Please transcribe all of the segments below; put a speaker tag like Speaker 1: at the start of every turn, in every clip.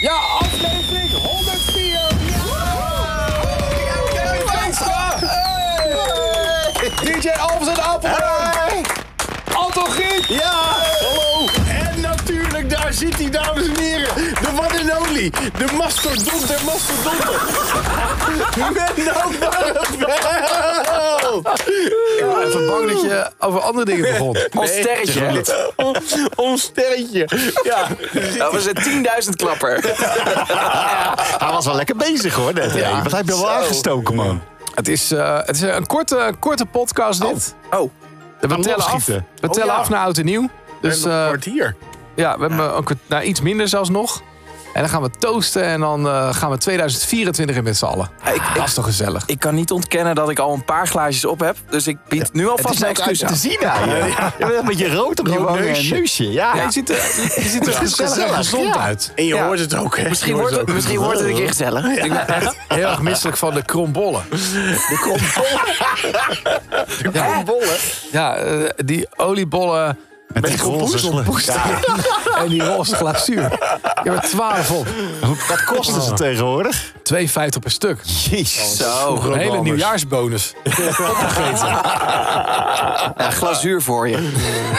Speaker 1: Ja, aflevering 104! Ja! DJ Alves en Apeldoorn! Anton Giet!
Speaker 2: Ja, hallo. En natuurlijk, daar zit hij, dames en heren. De one and only. De mastodont der nou mastodonten. Menno Barneveld.
Speaker 3: Even bang dat je over andere dingen begon.
Speaker 4: Ons sterretje.
Speaker 2: Ons sterretje. Ja.
Speaker 4: Dat was een 10.000 klapper.
Speaker 5: Hij was wel lekker bezig hoor, net. Ja. Want hij heeft wel aangestoken, man.
Speaker 3: Het is, eh, het is een korte, korte podcast dit.
Speaker 4: Oh,
Speaker 3: we tellen af.
Speaker 5: lofschieten.
Speaker 3: We tellen
Speaker 2: ja.
Speaker 3: af naar oud Oh, en nieuw. Dus
Speaker 2: Dus, een
Speaker 3: eh,
Speaker 2: kwartier.
Speaker 3: ja, we hebben ook nou, iets minder zelfs nog. En dan gaan we toasten en dan eh, gaan we 2024 in met z'n allen. Dat is toch gezellig.
Speaker 4: ik kan niet ontkennen dat ik al een paar glaasjes op heb. Dus ik bied nu alvast mijn excuus
Speaker 5: te
Speaker 4: aan.
Speaker 5: zien aan je. Je bent een beetje rood op je
Speaker 2: Rood
Speaker 5: wangen en
Speaker 2: neusje.
Speaker 5: neusje. Ja,
Speaker 3: je ziet er, je ziet er
Speaker 5: Het is
Speaker 3: gezellig
Speaker 5: gezellig,
Speaker 3: gezond
Speaker 5: ja.
Speaker 3: uit.
Speaker 2: En je
Speaker 4: Ja.
Speaker 2: hoort het ook, hè?
Speaker 4: Misschien
Speaker 2: Je hoort
Speaker 4: wordt het,
Speaker 2: ook.
Speaker 4: misschien wordt het een keer gezellig. Ik ben echt-
Speaker 3: Heel erg misselijk van de krombollen.
Speaker 4: er komt-
Speaker 2: Een bol, hè?
Speaker 3: Ja, eh, die oliebollen
Speaker 5: met die roze Ja,
Speaker 3: en die roze glazuur. Je hebt er 12 op.
Speaker 5: Wat kosten ze tegenwoordig?
Speaker 3: 2,50 per stuk.
Speaker 5: Jezus.
Speaker 4: Zo,
Speaker 3: Een hele
Speaker 2: anders.
Speaker 3: nieuwjaarsbonus.
Speaker 4: ja, glazuur voor je.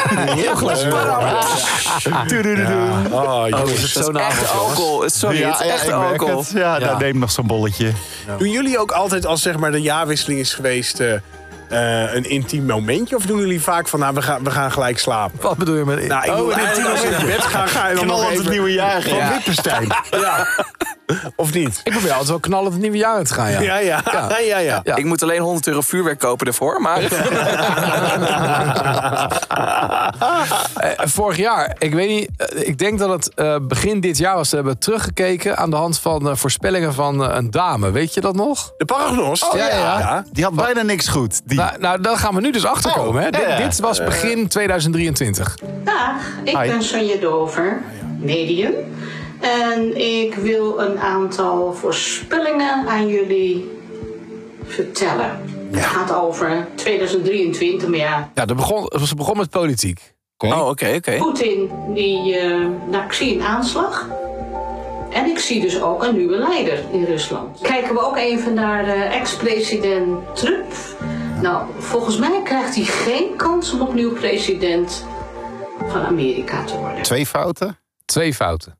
Speaker 5: Heel glas.
Speaker 2: Oh, jongens.
Speaker 3: Dus is
Speaker 4: Dat is
Speaker 5: nou
Speaker 4: echt alcohol. Sorry, het is echt
Speaker 5: ik merk
Speaker 4: alcohol.
Speaker 5: het. Ja, daar neem nog zo'n bolletje.
Speaker 2: Doen jullie ook altijd als zeg maar de jaarwisseling is geweest eh, eh, een intiem momentje? Of doen jullie vaak van nou, we gaan, we gaan gelijk slapen?
Speaker 3: Wat bedoel je met...
Speaker 2: Nou, ik bedoel, eigenlijk als je naar bed gaat, ga je dan nog
Speaker 5: Knal op het
Speaker 2: even...
Speaker 5: nieuwe jaar van
Speaker 3: Ja.
Speaker 5: Wippenstein.
Speaker 2: Ja. Of niet?
Speaker 3: Ik probeer altijd wel knallen het nieuwe jaar in te gaan, ja.
Speaker 2: Ja, ja, ja, ja. ja.
Speaker 3: Ja.
Speaker 4: Ik moet alleen 100 euro vuurwerk kopen ervoor. Maar
Speaker 3: Eh, vorig jaar, ik weet niet, eh, ik denk dat het eh, begin dit jaar was. We hebben teruggekeken aan de hand van eh, voorspellingen van eh, een dame. Weet je dat nog?
Speaker 2: De paragnost.
Speaker 3: Oh, ja, ja.
Speaker 5: Die had bijna niks goed. Die.
Speaker 3: Nou, nou daar gaan we nu dus achter komen. hè.
Speaker 5: ja,
Speaker 3: Dit-
Speaker 5: Oh, ja. Eh.
Speaker 3: Dit was begin 2023.
Speaker 6: Dag, ik
Speaker 5: Hi.
Speaker 6: ben Sonja Dover, medium. En ik wil een aantal voorspellingen aan jullie vertellen. Het gaat over 2023, maar ja,
Speaker 3: Ja, dat begon, ze begon met politiek.
Speaker 4: Oh, oké, oké.
Speaker 6: Poetin die, eh nou, ik zie een aanslag. En ik zie dus ook een nieuwe leider in Rusland. Kijken we ook even naar eh, ex-president Trump. Nou, volgens mij krijgt hij geen kans om opnieuw president van Amerika te worden.
Speaker 5: Twee fouten.
Speaker 3: Twee fouten.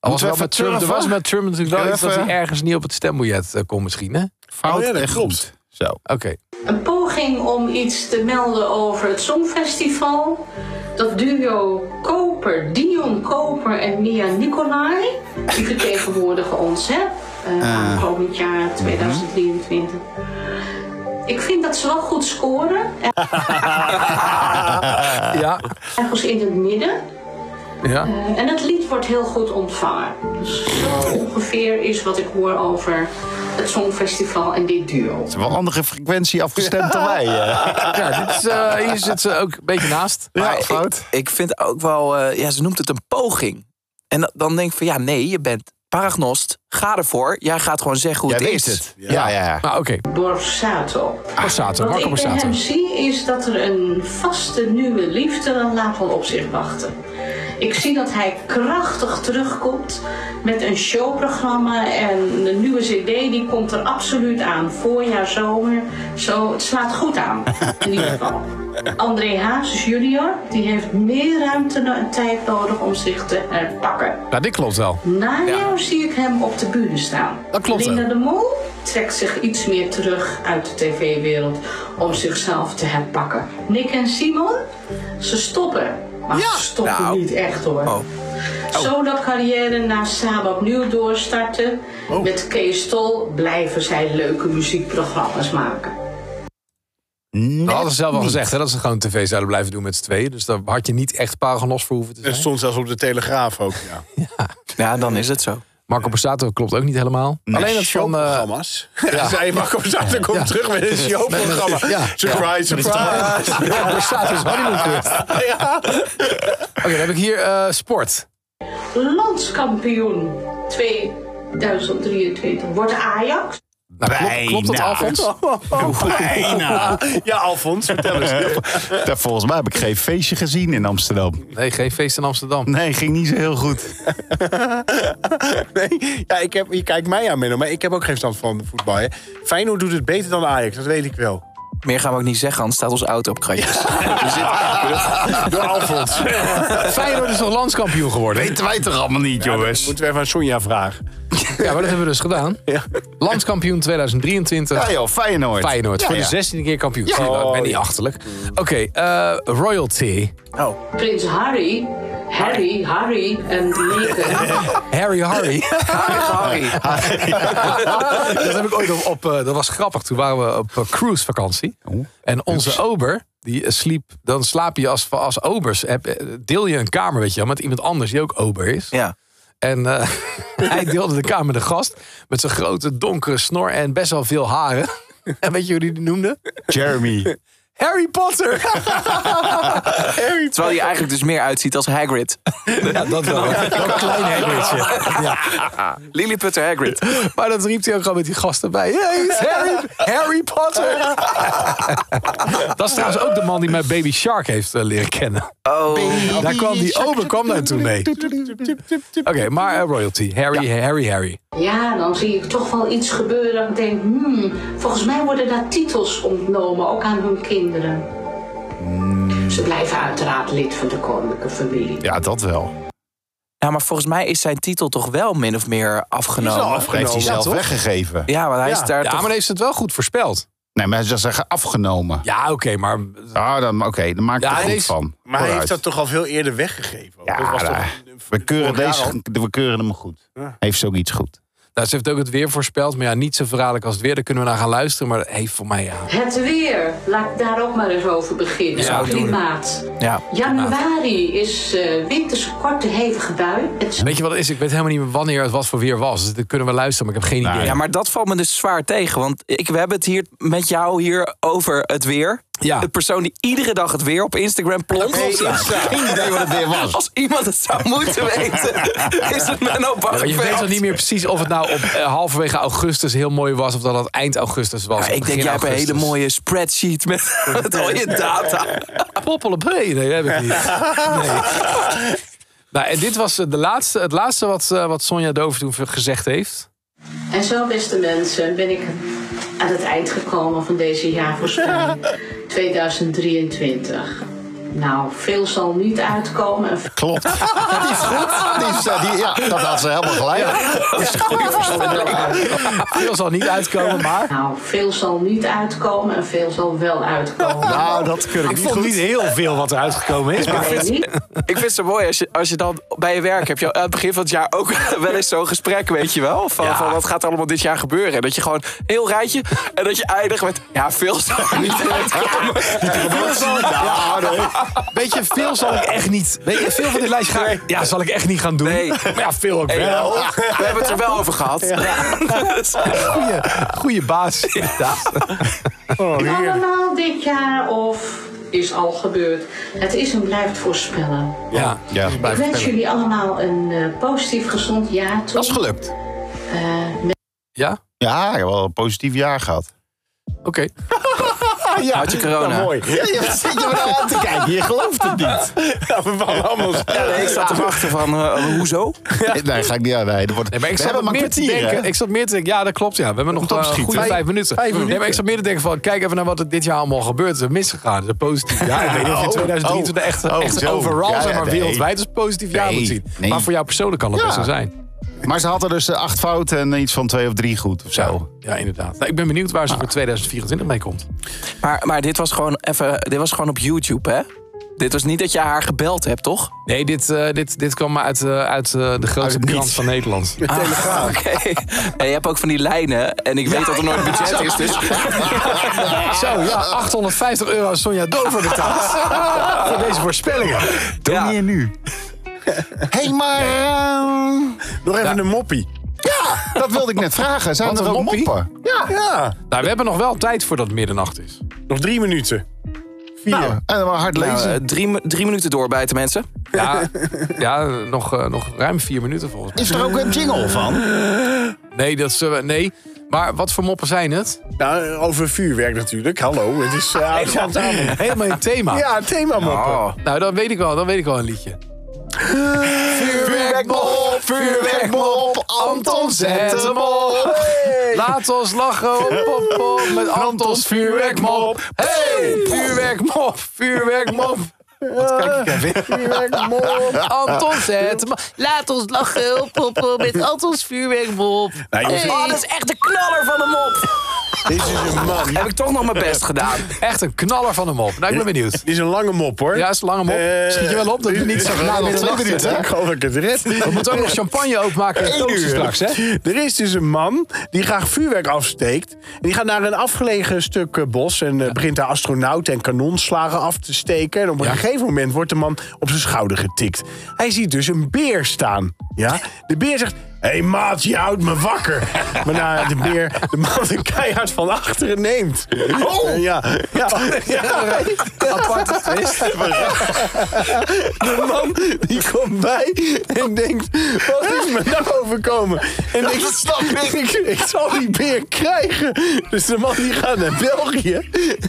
Speaker 3: Al was
Speaker 5: Moeten we
Speaker 3: wel
Speaker 5: even
Speaker 3: met Trump, er
Speaker 5: turven?
Speaker 3: was met Trump natuurlijk wel iets dat
Speaker 5: Even-
Speaker 3: hij ergens niet op het stembiljet eh, kon misschien, hè? Oké.
Speaker 5: Fout
Speaker 2: Oh ja, dat
Speaker 5: en
Speaker 2: klopt.
Speaker 5: goed. Zo.
Speaker 6: Een poging om iets te melden over het Songfestival. Dat duo Koper, Dion Koper en Mia Nicolai. Die vertegenwoordigen ons hè, eh, aankomend jaar 2023. Ik vind dat ze wel goed scoren. Er-
Speaker 5: Ah.
Speaker 3: Ja,
Speaker 6: Ergens in het midden.
Speaker 3: ja.
Speaker 6: Eh, en het lied wordt heel goed ontvangen. Dus zo ongeveer is wat ik hoor over het Songfestival en dit duo.
Speaker 5: Ze hebben wel andere frequentie afgestemd dan wij. eh.
Speaker 3: ja dit is, eh, hier zit ze ook een beetje naast.
Speaker 5: Ja,
Speaker 4: Maar
Speaker 5: fout.
Speaker 4: Ik, ik vind ook wel, eh, ja, ze noemt het een poging. En da- dan denk ik van, ja, nee, je bent paragnost. Ga ervoor. Jij gaat gewoon zeggen hoe
Speaker 5: Jij
Speaker 4: het
Speaker 5: weet
Speaker 4: is.
Speaker 5: het. Ja, ja, ja.
Speaker 3: Maar ah, oké,
Speaker 6: Borsato.
Speaker 3: Borsato,
Speaker 6: Wat
Speaker 3: Marco
Speaker 6: ik bij
Speaker 3: Borsato.
Speaker 6: hem zie is dat er een vaste nieuwe liefde laat wel op zich wachten. Ik zie dat hij krachtig terugkomt met een showprogramma en een nieuwe cd die komt er absoluut aan. Voorjaar, zomer, zo, het slaat goed aan in ieder geval. André Hazes junior, die heeft meer ruimte no- en tijd nodig om zich te herpakken.
Speaker 3: Nou, dit klopt wel.
Speaker 6: Na jou zie ik hem op de bühne staan.
Speaker 3: Dat klopt
Speaker 6: Linda
Speaker 3: ook.
Speaker 6: de Mol trekt zich iets meer terug uit de tv-wereld om zichzelf te herpakken. Nick en Simon, ze stoppen. Maar ze stoppen
Speaker 4: Nou.
Speaker 6: niet echt hoor.
Speaker 3: Oh.
Speaker 6: Zodat carrière na Saba opnieuw doorstarten.
Speaker 3: Oh.
Speaker 6: Met Kees Tol blijven zij leuke muziekprogramma's maken.
Speaker 3: Dat hadden ze zelf al gezegd, hè, dat ze gewoon tv zouden blijven doen met z'n tweeën. Dus daar had je niet echt paragnos voor hoeven te
Speaker 2: Het
Speaker 5: Eh,
Speaker 3: zijn.
Speaker 2: stond zelfs op de Telegraaf ook, ja.
Speaker 4: Ja, dan is het zo.
Speaker 3: Marco Borsato klopt ook niet helemaal. Alleen dat van... eh,
Speaker 2: Showprogramma's. Zij mag op zaterdag komt terug met een showprogramma.
Speaker 3: Ja.
Speaker 2: Surprise, surprise.
Speaker 3: Marco Borsato is honeymoon tour. Oké,
Speaker 2: Ja.
Speaker 3: dan heb ik hier eh, sport.
Speaker 6: Landskampioen 2023 wordt Ajax.
Speaker 3: Nou, klopt, klopt dat,
Speaker 5: Bijna.
Speaker 3: Alfons?
Speaker 2: Bijna. Ja, Alfons, vertel eens.
Speaker 5: Daar, volgens mij heb ik geen feestje gezien in Amsterdam.
Speaker 3: Nee, geen feest in Amsterdam.
Speaker 5: Nee, ging niet zo heel goed.
Speaker 2: Nee, ja, ik heb, je kijkt mij aan, Menno, maar ik heb ook geen stand van voetbal. Hè. Feyenoord doet het beter dan Ajax, dat weet ik wel.
Speaker 4: Meer gaan we ook niet zeggen, anders staat ons auto op kratjes.
Speaker 2: Door Alfons.
Speaker 3: Feyenoord is nog landskampioen geworden.
Speaker 5: Weten wij toch allemaal niet, jongens?
Speaker 2: Moeten we even aan Sonja vragen.
Speaker 3: Ja, maar dat hebben we dus gedaan. Landskampioen 2023.
Speaker 5: Ja joh, Feyenoord.
Speaker 3: Feyenoord,
Speaker 5: Ja,
Speaker 3: voor
Speaker 5: ja.
Speaker 3: de zestiende keer kampioen. Zie je wel, ik ben niet achterlijk. Oké, eh, royalty.
Speaker 6: Prins Harry, Harry, Harry en Meghan.
Speaker 3: Harry Harry.
Speaker 4: Harry.
Speaker 3: dat heb ik ooit op... op eh, dat was grappig, toen waren we op eh, cruisevakantie. En onze ober, die eh, sliep... Dan slaap je als, als obers. Heb- eh, Deel je een kamer, weet je wel, met iemand anders die ook ober is.
Speaker 4: Ja.
Speaker 3: En eh, hij deelde de kamer met een gast. Met zijn grote donkere snor en best wel veel haren. En weet je hoe die die noemde?
Speaker 5: Jeremy.
Speaker 3: Harry Potter!
Speaker 4: Terwijl hij eigenlijk dus meer uitziet als Hagrid.
Speaker 3: Ja, dat wel. Dat klein Hagridje. Ja.
Speaker 4: Lilliputter Hagrid.
Speaker 3: Maar dat riep hij ook gewoon met die gasten bij. Hey, it's Harry, Harry Potter! dat is trouwens ook de man die mij Baby Shark heeft eh, leren kennen.
Speaker 4: Oh,
Speaker 3: Daar kwam die ober kwam daar toen mee. Oké, maar eh, royalty. Harry, Harry, Harry.
Speaker 6: Ja, dan zie ik toch wel iets gebeuren. dat Ik denk, hmm, volgens mij worden daar titels ontnomen, ook aan hun kinderen. Ze blijven uiteraard lid van de koninklijke familie.
Speaker 5: Ja, dat wel.
Speaker 4: ja, maar volgens mij is zijn titel toch wel min of meer afgenomen.
Speaker 5: Hij heeft hij zelf weggegeven.
Speaker 4: Ja, want hij is daar
Speaker 3: Ja, maar
Speaker 4: toch...
Speaker 3: dan heeft ze het wel goed voorspeld.
Speaker 5: Nee, maar ze zeggen afgenomen.
Speaker 3: Ja, oké, maar...
Speaker 5: Ah, dan, oké, dan maak ik
Speaker 3: Ja,
Speaker 5: er goed
Speaker 3: deze-
Speaker 5: van.
Speaker 2: Maar hij
Speaker 5: Vooruit.
Speaker 2: heeft dat toch al veel eerder weggegeven?
Speaker 5: Ja,
Speaker 2: Dat was toch-
Speaker 5: daar- we, keuren
Speaker 2: vorig jaar
Speaker 5: deze, we keuren hem goed. Heeft ze ook iets goed.
Speaker 3: Nou, ze heeft ook het weer voorspeld. Maar ja, niet zo verraderlijk als het weer. Daar kunnen we naar gaan luisteren. Maar dat heeft voor mij... Ja.
Speaker 6: Het weer, laat ik daar ook maar eens over beginnen.
Speaker 3: Ja, doe.
Speaker 6: Klimaat.
Speaker 4: Ja.
Speaker 6: Januari is eh winterse korte hevige bui. Het is
Speaker 3: Weet je wat het is? Ik weet helemaal niet meer wanneer het was voor weer was. Dus dat kunnen we luisteren, maar ik heb geen idee.
Speaker 4: Ja, maar dat valt me dus zwaar tegen. Want ik, we hebben het hier met jou hier over het weer.
Speaker 3: Ja.
Speaker 4: De persoon die iedere dag het weer op Instagram plompt.
Speaker 5: Geen idee wat het weer was.
Speaker 4: Als iemand het zou moeten weten, is het Menno
Speaker 3: Ja, maar je weet
Speaker 4: Barneveld.
Speaker 3: dan niet meer precies of het nou op eh, halverwege augustus heel mooi was. Of dat het eind augustus was.
Speaker 4: Ja, ik denk, jij hebt een hele mooie spreadsheet met, met al je data.
Speaker 3: Poppelen Nee, dat heb ik niet. Nee. Nou, en dit was eh, de laatste, het laatste wat, eh, wat Sonja Dover toen gezegd heeft.
Speaker 6: En zo, beste mensen, ben ik aan het eind gekomen van deze jaarvoorspelling 2023. Nou, veel zal niet uitkomen. en
Speaker 5: Klopt. die is goed. Die is, eh, die, ja, dat had ze helemaal gelijk.
Speaker 3: Ah, Veel zal niet uitkomen, maar...
Speaker 6: Nou, veel zal niet uitkomen en veel zal wel uitkomen.
Speaker 5: Nou, dat kun ik,
Speaker 3: Ik
Speaker 5: niet
Speaker 3: vond
Speaker 5: goed.
Speaker 3: niet heel veel wat er uitgekomen is. Maar
Speaker 6: En niet
Speaker 4: Ik vind het zo mooi als je, als je dan bij je werk heb je aan het begin van het jaar ook wel eens zo'n gesprek, weet je wel? Van,
Speaker 3: Ja.
Speaker 4: van wat gaat er allemaal dit jaar gebeuren? En dat je gewoon heel rijtje en dat je eindigt met ja, veel zal er niet uitkomen. Veel zal er-
Speaker 3: Weet je, veel zal ik echt niet... Weet je, veel van dit lijstje ga, ja, zal ik echt niet gaan doen.
Speaker 4: Nee.
Speaker 3: Maar ja, veel ook
Speaker 4: Hey,
Speaker 3: wel.
Speaker 4: wel. We hebben het er wel over gehad. Dus-
Speaker 3: Goeie, goeie baas. Ja.
Speaker 2: Oh,
Speaker 6: allemaal dit jaar of is al gebeurd. Het is en blijft voorspellen.
Speaker 3: Ja.
Speaker 5: Ja,
Speaker 6: Ik wens jullie allemaal een eh, positief, gezond jaar toe.
Speaker 5: dat is gelukt.
Speaker 3: Ja?
Speaker 5: Ja, ik heb wel een positief jaar gehad.
Speaker 3: Oké.
Speaker 4: Had je corona?
Speaker 2: mooi.
Speaker 5: Ja, je zit er wel aan te kijken. Je gelooft het niet.
Speaker 2: Ja, we waren allemaal
Speaker 4: Ja, nee, ik zat te wachten van eh, hoezo?
Speaker 5: Nee, ga ik niet aan. Nee, dat wordt,
Speaker 3: Nee, maar ik
Speaker 5: we
Speaker 3: zat,
Speaker 5: hebben
Speaker 3: ook
Speaker 5: maar
Speaker 3: meer te
Speaker 5: kwartier,
Speaker 3: denken,
Speaker 5: hè?
Speaker 3: ik zat meer te denken, ja dat klopt ja, we hebben nog
Speaker 5: Moet
Speaker 3: eh,
Speaker 5: opschieten.
Speaker 3: goede vijf,
Speaker 5: Vijf-
Speaker 3: minuten. Nee, maar ik zat meer te denken van, kijk even naar wat er dit jaar allemaal gebeurd is. Er misgegaan, is er positief jaar. Ik weet niet of je
Speaker 5: Oh,
Speaker 3: 2023
Speaker 5: oh,
Speaker 3: echt,
Speaker 5: oh,
Speaker 3: echt
Speaker 5: zo.
Speaker 3: overal,
Speaker 5: Ja,
Speaker 3: zeg maar,
Speaker 5: nee.
Speaker 3: wereldwijd als positief jaar
Speaker 5: Nee,
Speaker 3: moet zien.
Speaker 5: nee.
Speaker 3: Maar voor jou persoonlijk kan dat
Speaker 5: Ja.
Speaker 3: best zo zijn.
Speaker 5: Maar ze had er dus eh, acht fouten en iets van twee of drie goed of
Speaker 3: Ja,
Speaker 5: zo.
Speaker 3: ja inderdaad. Nou, ik ben benieuwd waar ze
Speaker 5: Ah.
Speaker 3: voor 2024 mee komt.
Speaker 4: Maar, maar dit was gewoon even, dit was gewoon op YouTube, hè? Dit was niet dat je haar gebeld hebt, toch?
Speaker 3: Nee, dit, eh, dit, dit kwam maar uit, eh, uit eh, de grootste
Speaker 5: Uit het
Speaker 3: krant
Speaker 5: niets.
Speaker 3: van Nederland.
Speaker 4: Ah, Oké. En je hebt ook van die lijnen. En ik weet dat er nooit budget is. Dus
Speaker 3: Zo, ja, 850 euro is Sonja Dover betaald. voor deze voorspellingen.
Speaker 5: Doe
Speaker 4: Ja.
Speaker 5: meer nu. Hé, hey, maar... eh,
Speaker 2: nog even een moppie.
Speaker 5: ja, eh, dat wilde ik net vragen. Zijn
Speaker 3: Wat
Speaker 5: er
Speaker 3: een
Speaker 5: ook
Speaker 3: moppie.
Speaker 5: moppen? Ja.
Speaker 2: Ja,
Speaker 3: Nou, we hebben nog wel tijd voordat het middernacht is.
Speaker 2: nog drie minuten. Vier.
Speaker 5: Nou, en dan maar hard
Speaker 4: Nou,
Speaker 5: lezen.
Speaker 4: eh, drie, drie minuten doorbijten, mensen.
Speaker 3: Ja, ja nog, eh, nog ruim vier minuten volgens mij.
Speaker 5: Is er ook een jingle van?
Speaker 3: Nee, dat is, eh, nee. Maar wat voor moppen zijn het?
Speaker 2: Nou, over vuurwerk natuurlijk. Hallo, het is eh, oud oudjaarsavond.
Speaker 3: Helemaal een thema.
Speaker 2: Ja, het thema moppen.
Speaker 3: Nou, dan weet ik wel, dan weet ik wel een liedje.
Speaker 5: Vuurwerkmop, vuurwerkmop, Anton zet hem op.
Speaker 3: Laat ons lachen op, op, op, met Antons vuurwerkmop. Hey, vuurwerkmop, vuurwerkmop.
Speaker 2: Vuurwerkmop.
Speaker 3: Anton zet hem op.
Speaker 7: Laat ons lachen op, op, op met Antons vuurwerkmop.
Speaker 2: Nou, jongens,
Speaker 7: Hey.
Speaker 4: Oh,
Speaker 3: Ah,
Speaker 4: dat is echt de knaller van hem op.
Speaker 2: dit is een man.
Speaker 4: Heb ik toch nog mijn best gedaan.
Speaker 3: Echt een knaller van hem op. Nou, ik ben benieuwd.
Speaker 2: Dit is een lange mop, hoor.
Speaker 3: Ja, is een lange mop.
Speaker 2: Eh,
Speaker 3: Schiet je wel op dat je niet zo Nou,
Speaker 2: dit-
Speaker 3: na
Speaker 2: dit-
Speaker 3: middernacht
Speaker 2: dit-
Speaker 3: zit, hè?
Speaker 2: Ik geloof dat ik het red.
Speaker 3: We moeten ook nog champagne openmaken en
Speaker 2: Eén
Speaker 3: toasten
Speaker 2: uur.
Speaker 3: straks, hè?
Speaker 2: Er is dus een man die graag vuurwerk afsteekt. En die gaat naar een afgelegen stuk eh, bos en eh, begint daar astronauten en kanonslagen af te steken. En op een
Speaker 3: Ja.
Speaker 2: gegeven moment wordt de man op zijn schouder getikt. Hij ziet dus een beer staan. Ja? De beer zegt. Hé hey maat, je houdt me wakker. Maar nou, de beer, de man de keihard van achteren neemt. Oh! Ja, ja, ja.
Speaker 3: Aparte twist.
Speaker 2: De man die komt bij en denkt: wat is me nou overkomen? En ik snap ik. Ik, zal die beer krijgen. Dus de man die gaat naar België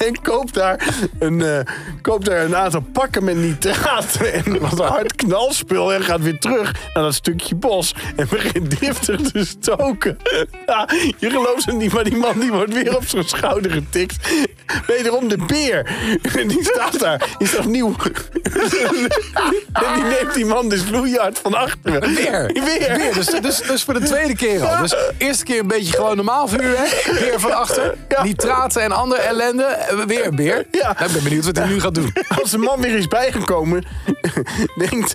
Speaker 2: en koopt daar een, eh, koopt daar een aantal pakken met nitraten en wat hard knalspul. En gaat weer terug naar dat stukje bos en begint driftig te stoken. Ja, je gelooft het niet, maar die man die wordt weer op zijn schouder getikt. Wederom de beer. Die staat daar. Die staat opnieuw. En die neemt die man dus loeihard van achteren.
Speaker 3: Weer.
Speaker 2: Weer.
Speaker 3: Weer. Dus, dus, dus voor de tweede keer al. Dus eerste keer een beetje gewoon normaal vuurwerk. Weer van achter.
Speaker 2: Ja.
Speaker 3: Nitraten en andere ellende. Eh, Weer een beer.
Speaker 2: Ja.
Speaker 3: Nou, ik ben benieuwd wat hij nu gaat doen.
Speaker 2: Als de man weer is bijgekomen, denkt...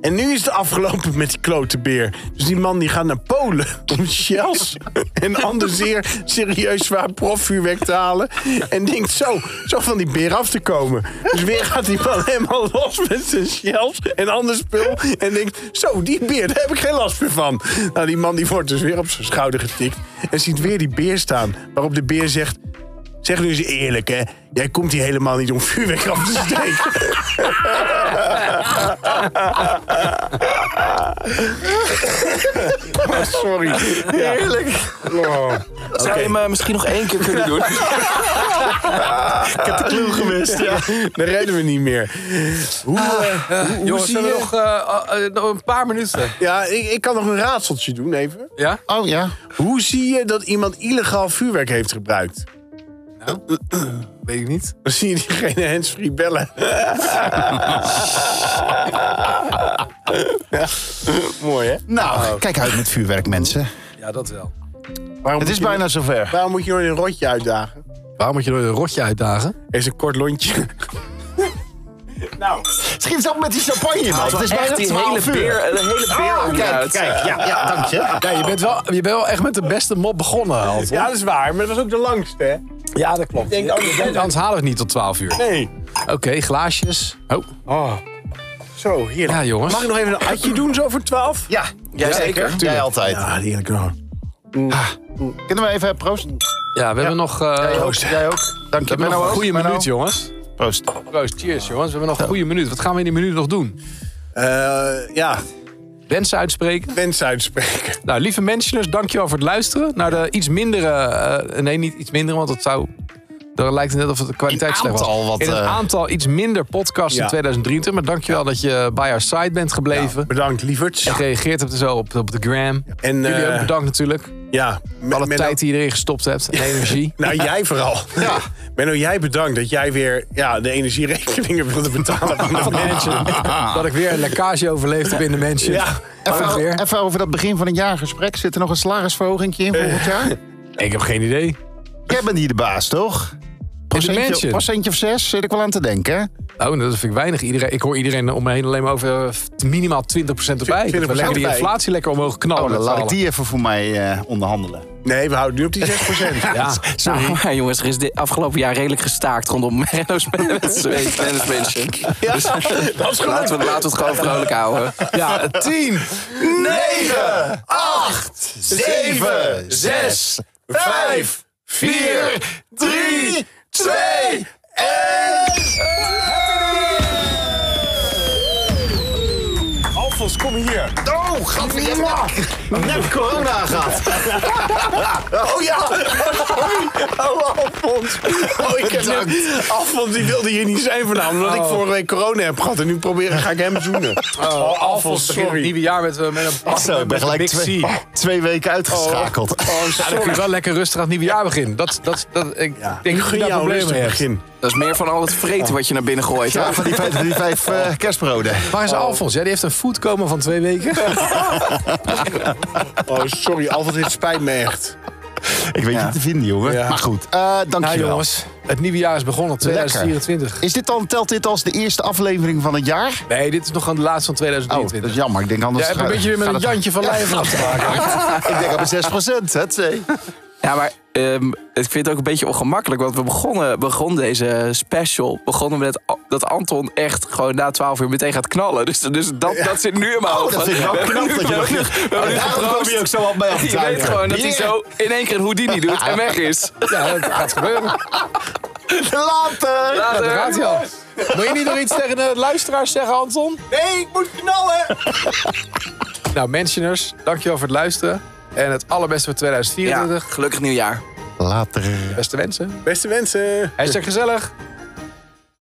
Speaker 2: En nu is het afgelopen met die klote beer. Dus die man die gaat naar Polen om shells en ander zeer serieus zwaar profvuurwerk te halen. En denkt zo, zo van die beer af te komen. Dus weer gaat die man helemaal los met zijn shells en ander spul. En denkt, zo die beer, daar heb ik geen last meer van. Nou, die man die wordt dus weer op zijn schouder getikt. En ziet weer die beer staan. Waarop de beer zegt, Zeg nu eens eerlijk, hè? Jij komt hier helemaal niet om vuurwerk af te steken. Oh, sorry. Oh. Heerlijk.
Speaker 4: Zou je me misschien nog één keer kunnen doen?
Speaker 2: Clue gemist, ja. Daar redden we niet meer. Hoe, eh, hoe- hoe
Speaker 3: Jongens,
Speaker 2: zie
Speaker 3: zullen we
Speaker 2: je-
Speaker 3: nog eh, eh, nog een paar minuten?
Speaker 2: Ja, ik, ik kan nog een raadseltje doen even.
Speaker 3: Ja?
Speaker 5: Oh ja.
Speaker 2: Hoe zie je dat iemand illegaal vuurwerk heeft gebruikt?
Speaker 3: Weet ik niet.
Speaker 2: Dan zie je diegene handsfree bellen. Ja, Mooi, hè?
Speaker 5: Nou, kijk uit met vuurwerk, mensen.
Speaker 3: Ja, dat wel.
Speaker 2: Waarom
Speaker 5: Het
Speaker 2: moet
Speaker 5: is
Speaker 2: je-
Speaker 5: bijna zover.
Speaker 2: Waarom moet je nooit een rotje uitdagen?
Speaker 3: Waarom moet je door een rotje uitdagen?
Speaker 2: Heeft een kort lontje.
Speaker 3: Nou,
Speaker 5: Schiet op met die champagne, man. Het is bijna
Speaker 4: Echt die hele
Speaker 5: 12 uur.
Speaker 4: beer, eh, de hele beer
Speaker 5: Oh, kijk,
Speaker 4: achteruit.
Speaker 5: kijk. Ja, ja dank je.
Speaker 3: Ja, je bent wel, je bent wel echt met de beste mop begonnen, Hans.
Speaker 2: Ja, dat is waar, maar dat was ook de langste, hè?
Speaker 3: Ja, dat klopt.
Speaker 2: denk, oh, dat-
Speaker 3: Anders halen we het niet tot 12 uur.
Speaker 2: Nee.
Speaker 3: Oké, glaasjes. Oh,
Speaker 2: Zo, hier.
Speaker 3: ja jongens.
Speaker 2: Mag ik nog even een atje doen, zo voor 12?
Speaker 5: Ja,
Speaker 4: Ja, zeker.
Speaker 5: jij altijd.
Speaker 2: Ja, heerlijk nou.
Speaker 5: Kunnen we even eh, proost?
Speaker 3: Ja, we hebben nog, eh,
Speaker 5: Jij ook.
Speaker 3: we
Speaker 5: Jij ook. Dank je.
Speaker 3: hebben nog
Speaker 5: Menno
Speaker 3: een
Speaker 5: ook.
Speaker 3: goede
Speaker 5: Menno.
Speaker 3: minuut, jongens.
Speaker 5: Proost.
Speaker 3: Proost, cheers, jongens. We hebben nog een goede minuut. Wat gaan we in die minuut nog doen?
Speaker 2: Eh, ja,
Speaker 3: Wensen uitspreken.
Speaker 2: mensen uitspreken.
Speaker 3: Nou, lieve mentioners, dankjewel voor het luisteren. Naar de iets mindere... eh, nee, niet iets mindere, want dat zou... Dan lijkt het net of het de kwaliteit
Speaker 5: In
Speaker 3: slecht was.
Speaker 5: aantal wat,
Speaker 3: in een
Speaker 5: eh,
Speaker 3: aantal iets minder podcasts
Speaker 2: Ja.
Speaker 3: in 2023. Maar dankjewel dat je bij our side bent gebleven.
Speaker 2: Bedankt, lieverds.
Speaker 3: En gereageerd hebt en zo op, op de gram.
Speaker 2: En,
Speaker 3: Jullie
Speaker 2: eh,
Speaker 3: ook bedankt natuurlijk.
Speaker 2: Ja, met,
Speaker 3: Alle tijd die je erin gestopt hebt. En energie.
Speaker 2: Nou, jij vooral. Ja. Menno, jij bedankt dat jij weer ja, de energierekeningen wilde betalen van de mensen.
Speaker 3: dat ik weer een lekkage overleefd heb in de mensen.
Speaker 2: Ja.
Speaker 3: Even
Speaker 5: Even,
Speaker 3: weer.
Speaker 5: even over dat begin van een jaargesprek. Zit er nog een salarisverhoging in volgend jaar?
Speaker 3: Ik heb geen idee.
Speaker 5: Jij bent hier de baas, toch?
Speaker 3: mansion.
Speaker 5: Procentje, procentje of zes zit ik wel aan te denken. hè?
Speaker 3: Oh, dat vind ik weinig. Iedereen, ik hoor iedereen om me heen alleen maar over eh, minimaal 20% erbij. Dat we
Speaker 2: 20%
Speaker 3: lekker die
Speaker 2: erbij.
Speaker 3: inflatie lekker omhoog knallen.
Speaker 5: Oh, dan
Speaker 3: met z'n
Speaker 5: laat ik
Speaker 3: allen.
Speaker 5: die even voor mij eh, onderhandelen.
Speaker 2: Nee, we houden nu op die 6%.
Speaker 3: Ja.
Speaker 4: Nou, maar jongens, er is dit afgelopen jaar redelijk gestaakt rondom Menno's Management.
Speaker 2: Ja, dat is gelukt.
Speaker 4: Laten we, laten we het gewoon vrolijk houden.
Speaker 3: ja, 10,
Speaker 2: 9,
Speaker 5: 8,
Speaker 2: 7, 6, 5, 4, 3, 2, 1. Alfons
Speaker 5: kom hier. Oh, gadver, je hebt nep- nep corona gehad. Oh ja.
Speaker 2: Oh, Alfons. Oh, ik heb
Speaker 5: Bedankt.
Speaker 2: net- Alfons die wilde hier niet zijn vanavond. Omdat
Speaker 3: Oh.
Speaker 2: ik vorige week corona heb gehad. En nu proberen ga ik hem zoenen. Oh,
Speaker 3: Alfons begint het nieuwe jaar met, eh, met een pak
Speaker 5: Zo, ik ben
Speaker 3: met een
Speaker 5: gelijk
Speaker 3: Big
Speaker 5: twee,
Speaker 3: C. Oh,
Speaker 5: twee weken uitgeschakeld.
Speaker 3: Ja, dan kun je wel lekker rustig aan het nieuwe jaar beginnen. Dat, dat, dat, ik denk
Speaker 2: Ik
Speaker 3: dat je
Speaker 2: gun
Speaker 3: daar
Speaker 2: jou een
Speaker 3: problemen mee
Speaker 2: rustig
Speaker 3: hebt.
Speaker 2: begin.
Speaker 4: Dat is meer van al het vreten wat je naar binnen gooit.
Speaker 5: Ja,
Speaker 4: hoor.
Speaker 5: van die vijf, van die vijf eh, kerstbroden.
Speaker 3: Waar is Alfons? Ja, die heeft een foodcoma van twee weken.
Speaker 2: Oh, sorry. Alfons, dit spijt me echt.
Speaker 5: Ik weet niet te vinden, jongen.
Speaker 2: Ja.
Speaker 5: Maar goed, eh
Speaker 3: Nou
Speaker 5: dankjewel.
Speaker 3: jongens, het nieuwe jaar is begonnen, 2024.
Speaker 5: is dit dan, telt dit als de eerste aflevering van het jaar?
Speaker 3: Nee, dit is nog aan de laatste van
Speaker 5: Oh, dat
Speaker 3: 2023.
Speaker 5: is jammer. Ik denk anders...
Speaker 3: Jij hebt een beetje weer met een jantje van lijf af te maken.
Speaker 5: Ik denk op een 6%, het zee.
Speaker 4: Ja, maar ehm, ik vind het ook een beetje ongemakkelijk. Want we begonnen, begon deze special. Begonnen met a- dat Anton echt gewoon na 12 uur meteen gaat knallen. Dus, dus dat, dat zit nu in mijn hoofd.
Speaker 5: Oh, dat vind ik wel
Speaker 4: We hebben
Speaker 5: knap
Speaker 4: nu-
Speaker 5: dat je
Speaker 4: we
Speaker 5: dat
Speaker 4: hebben
Speaker 5: doet. Oh,
Speaker 4: nu- we hebben nu
Speaker 5: Daarom
Speaker 4: geproost.
Speaker 5: kwam je ook zo wat bij af te
Speaker 4: Je weet
Speaker 5: tuigen.
Speaker 4: gewoon dat hij
Speaker 5: Yeah.
Speaker 4: zo in één keer een Houdini doet en weg is.
Speaker 3: Ja, dat gaat gebeuren.
Speaker 5: Later!
Speaker 3: Ja, daar gaat hij al. Wil je niet nog iets tegen de luisteraars zeggen, Anton?
Speaker 1: Nee, ik moet knallen.
Speaker 3: Nou, mentioners, dankjewel voor het luisteren. En het allerbeste voor
Speaker 4: Ja,
Speaker 3: 2024.
Speaker 4: gelukkig nieuwjaar.
Speaker 5: Later.
Speaker 3: Beste wensen.
Speaker 2: Beste wensen.
Speaker 3: Hij is gezellig.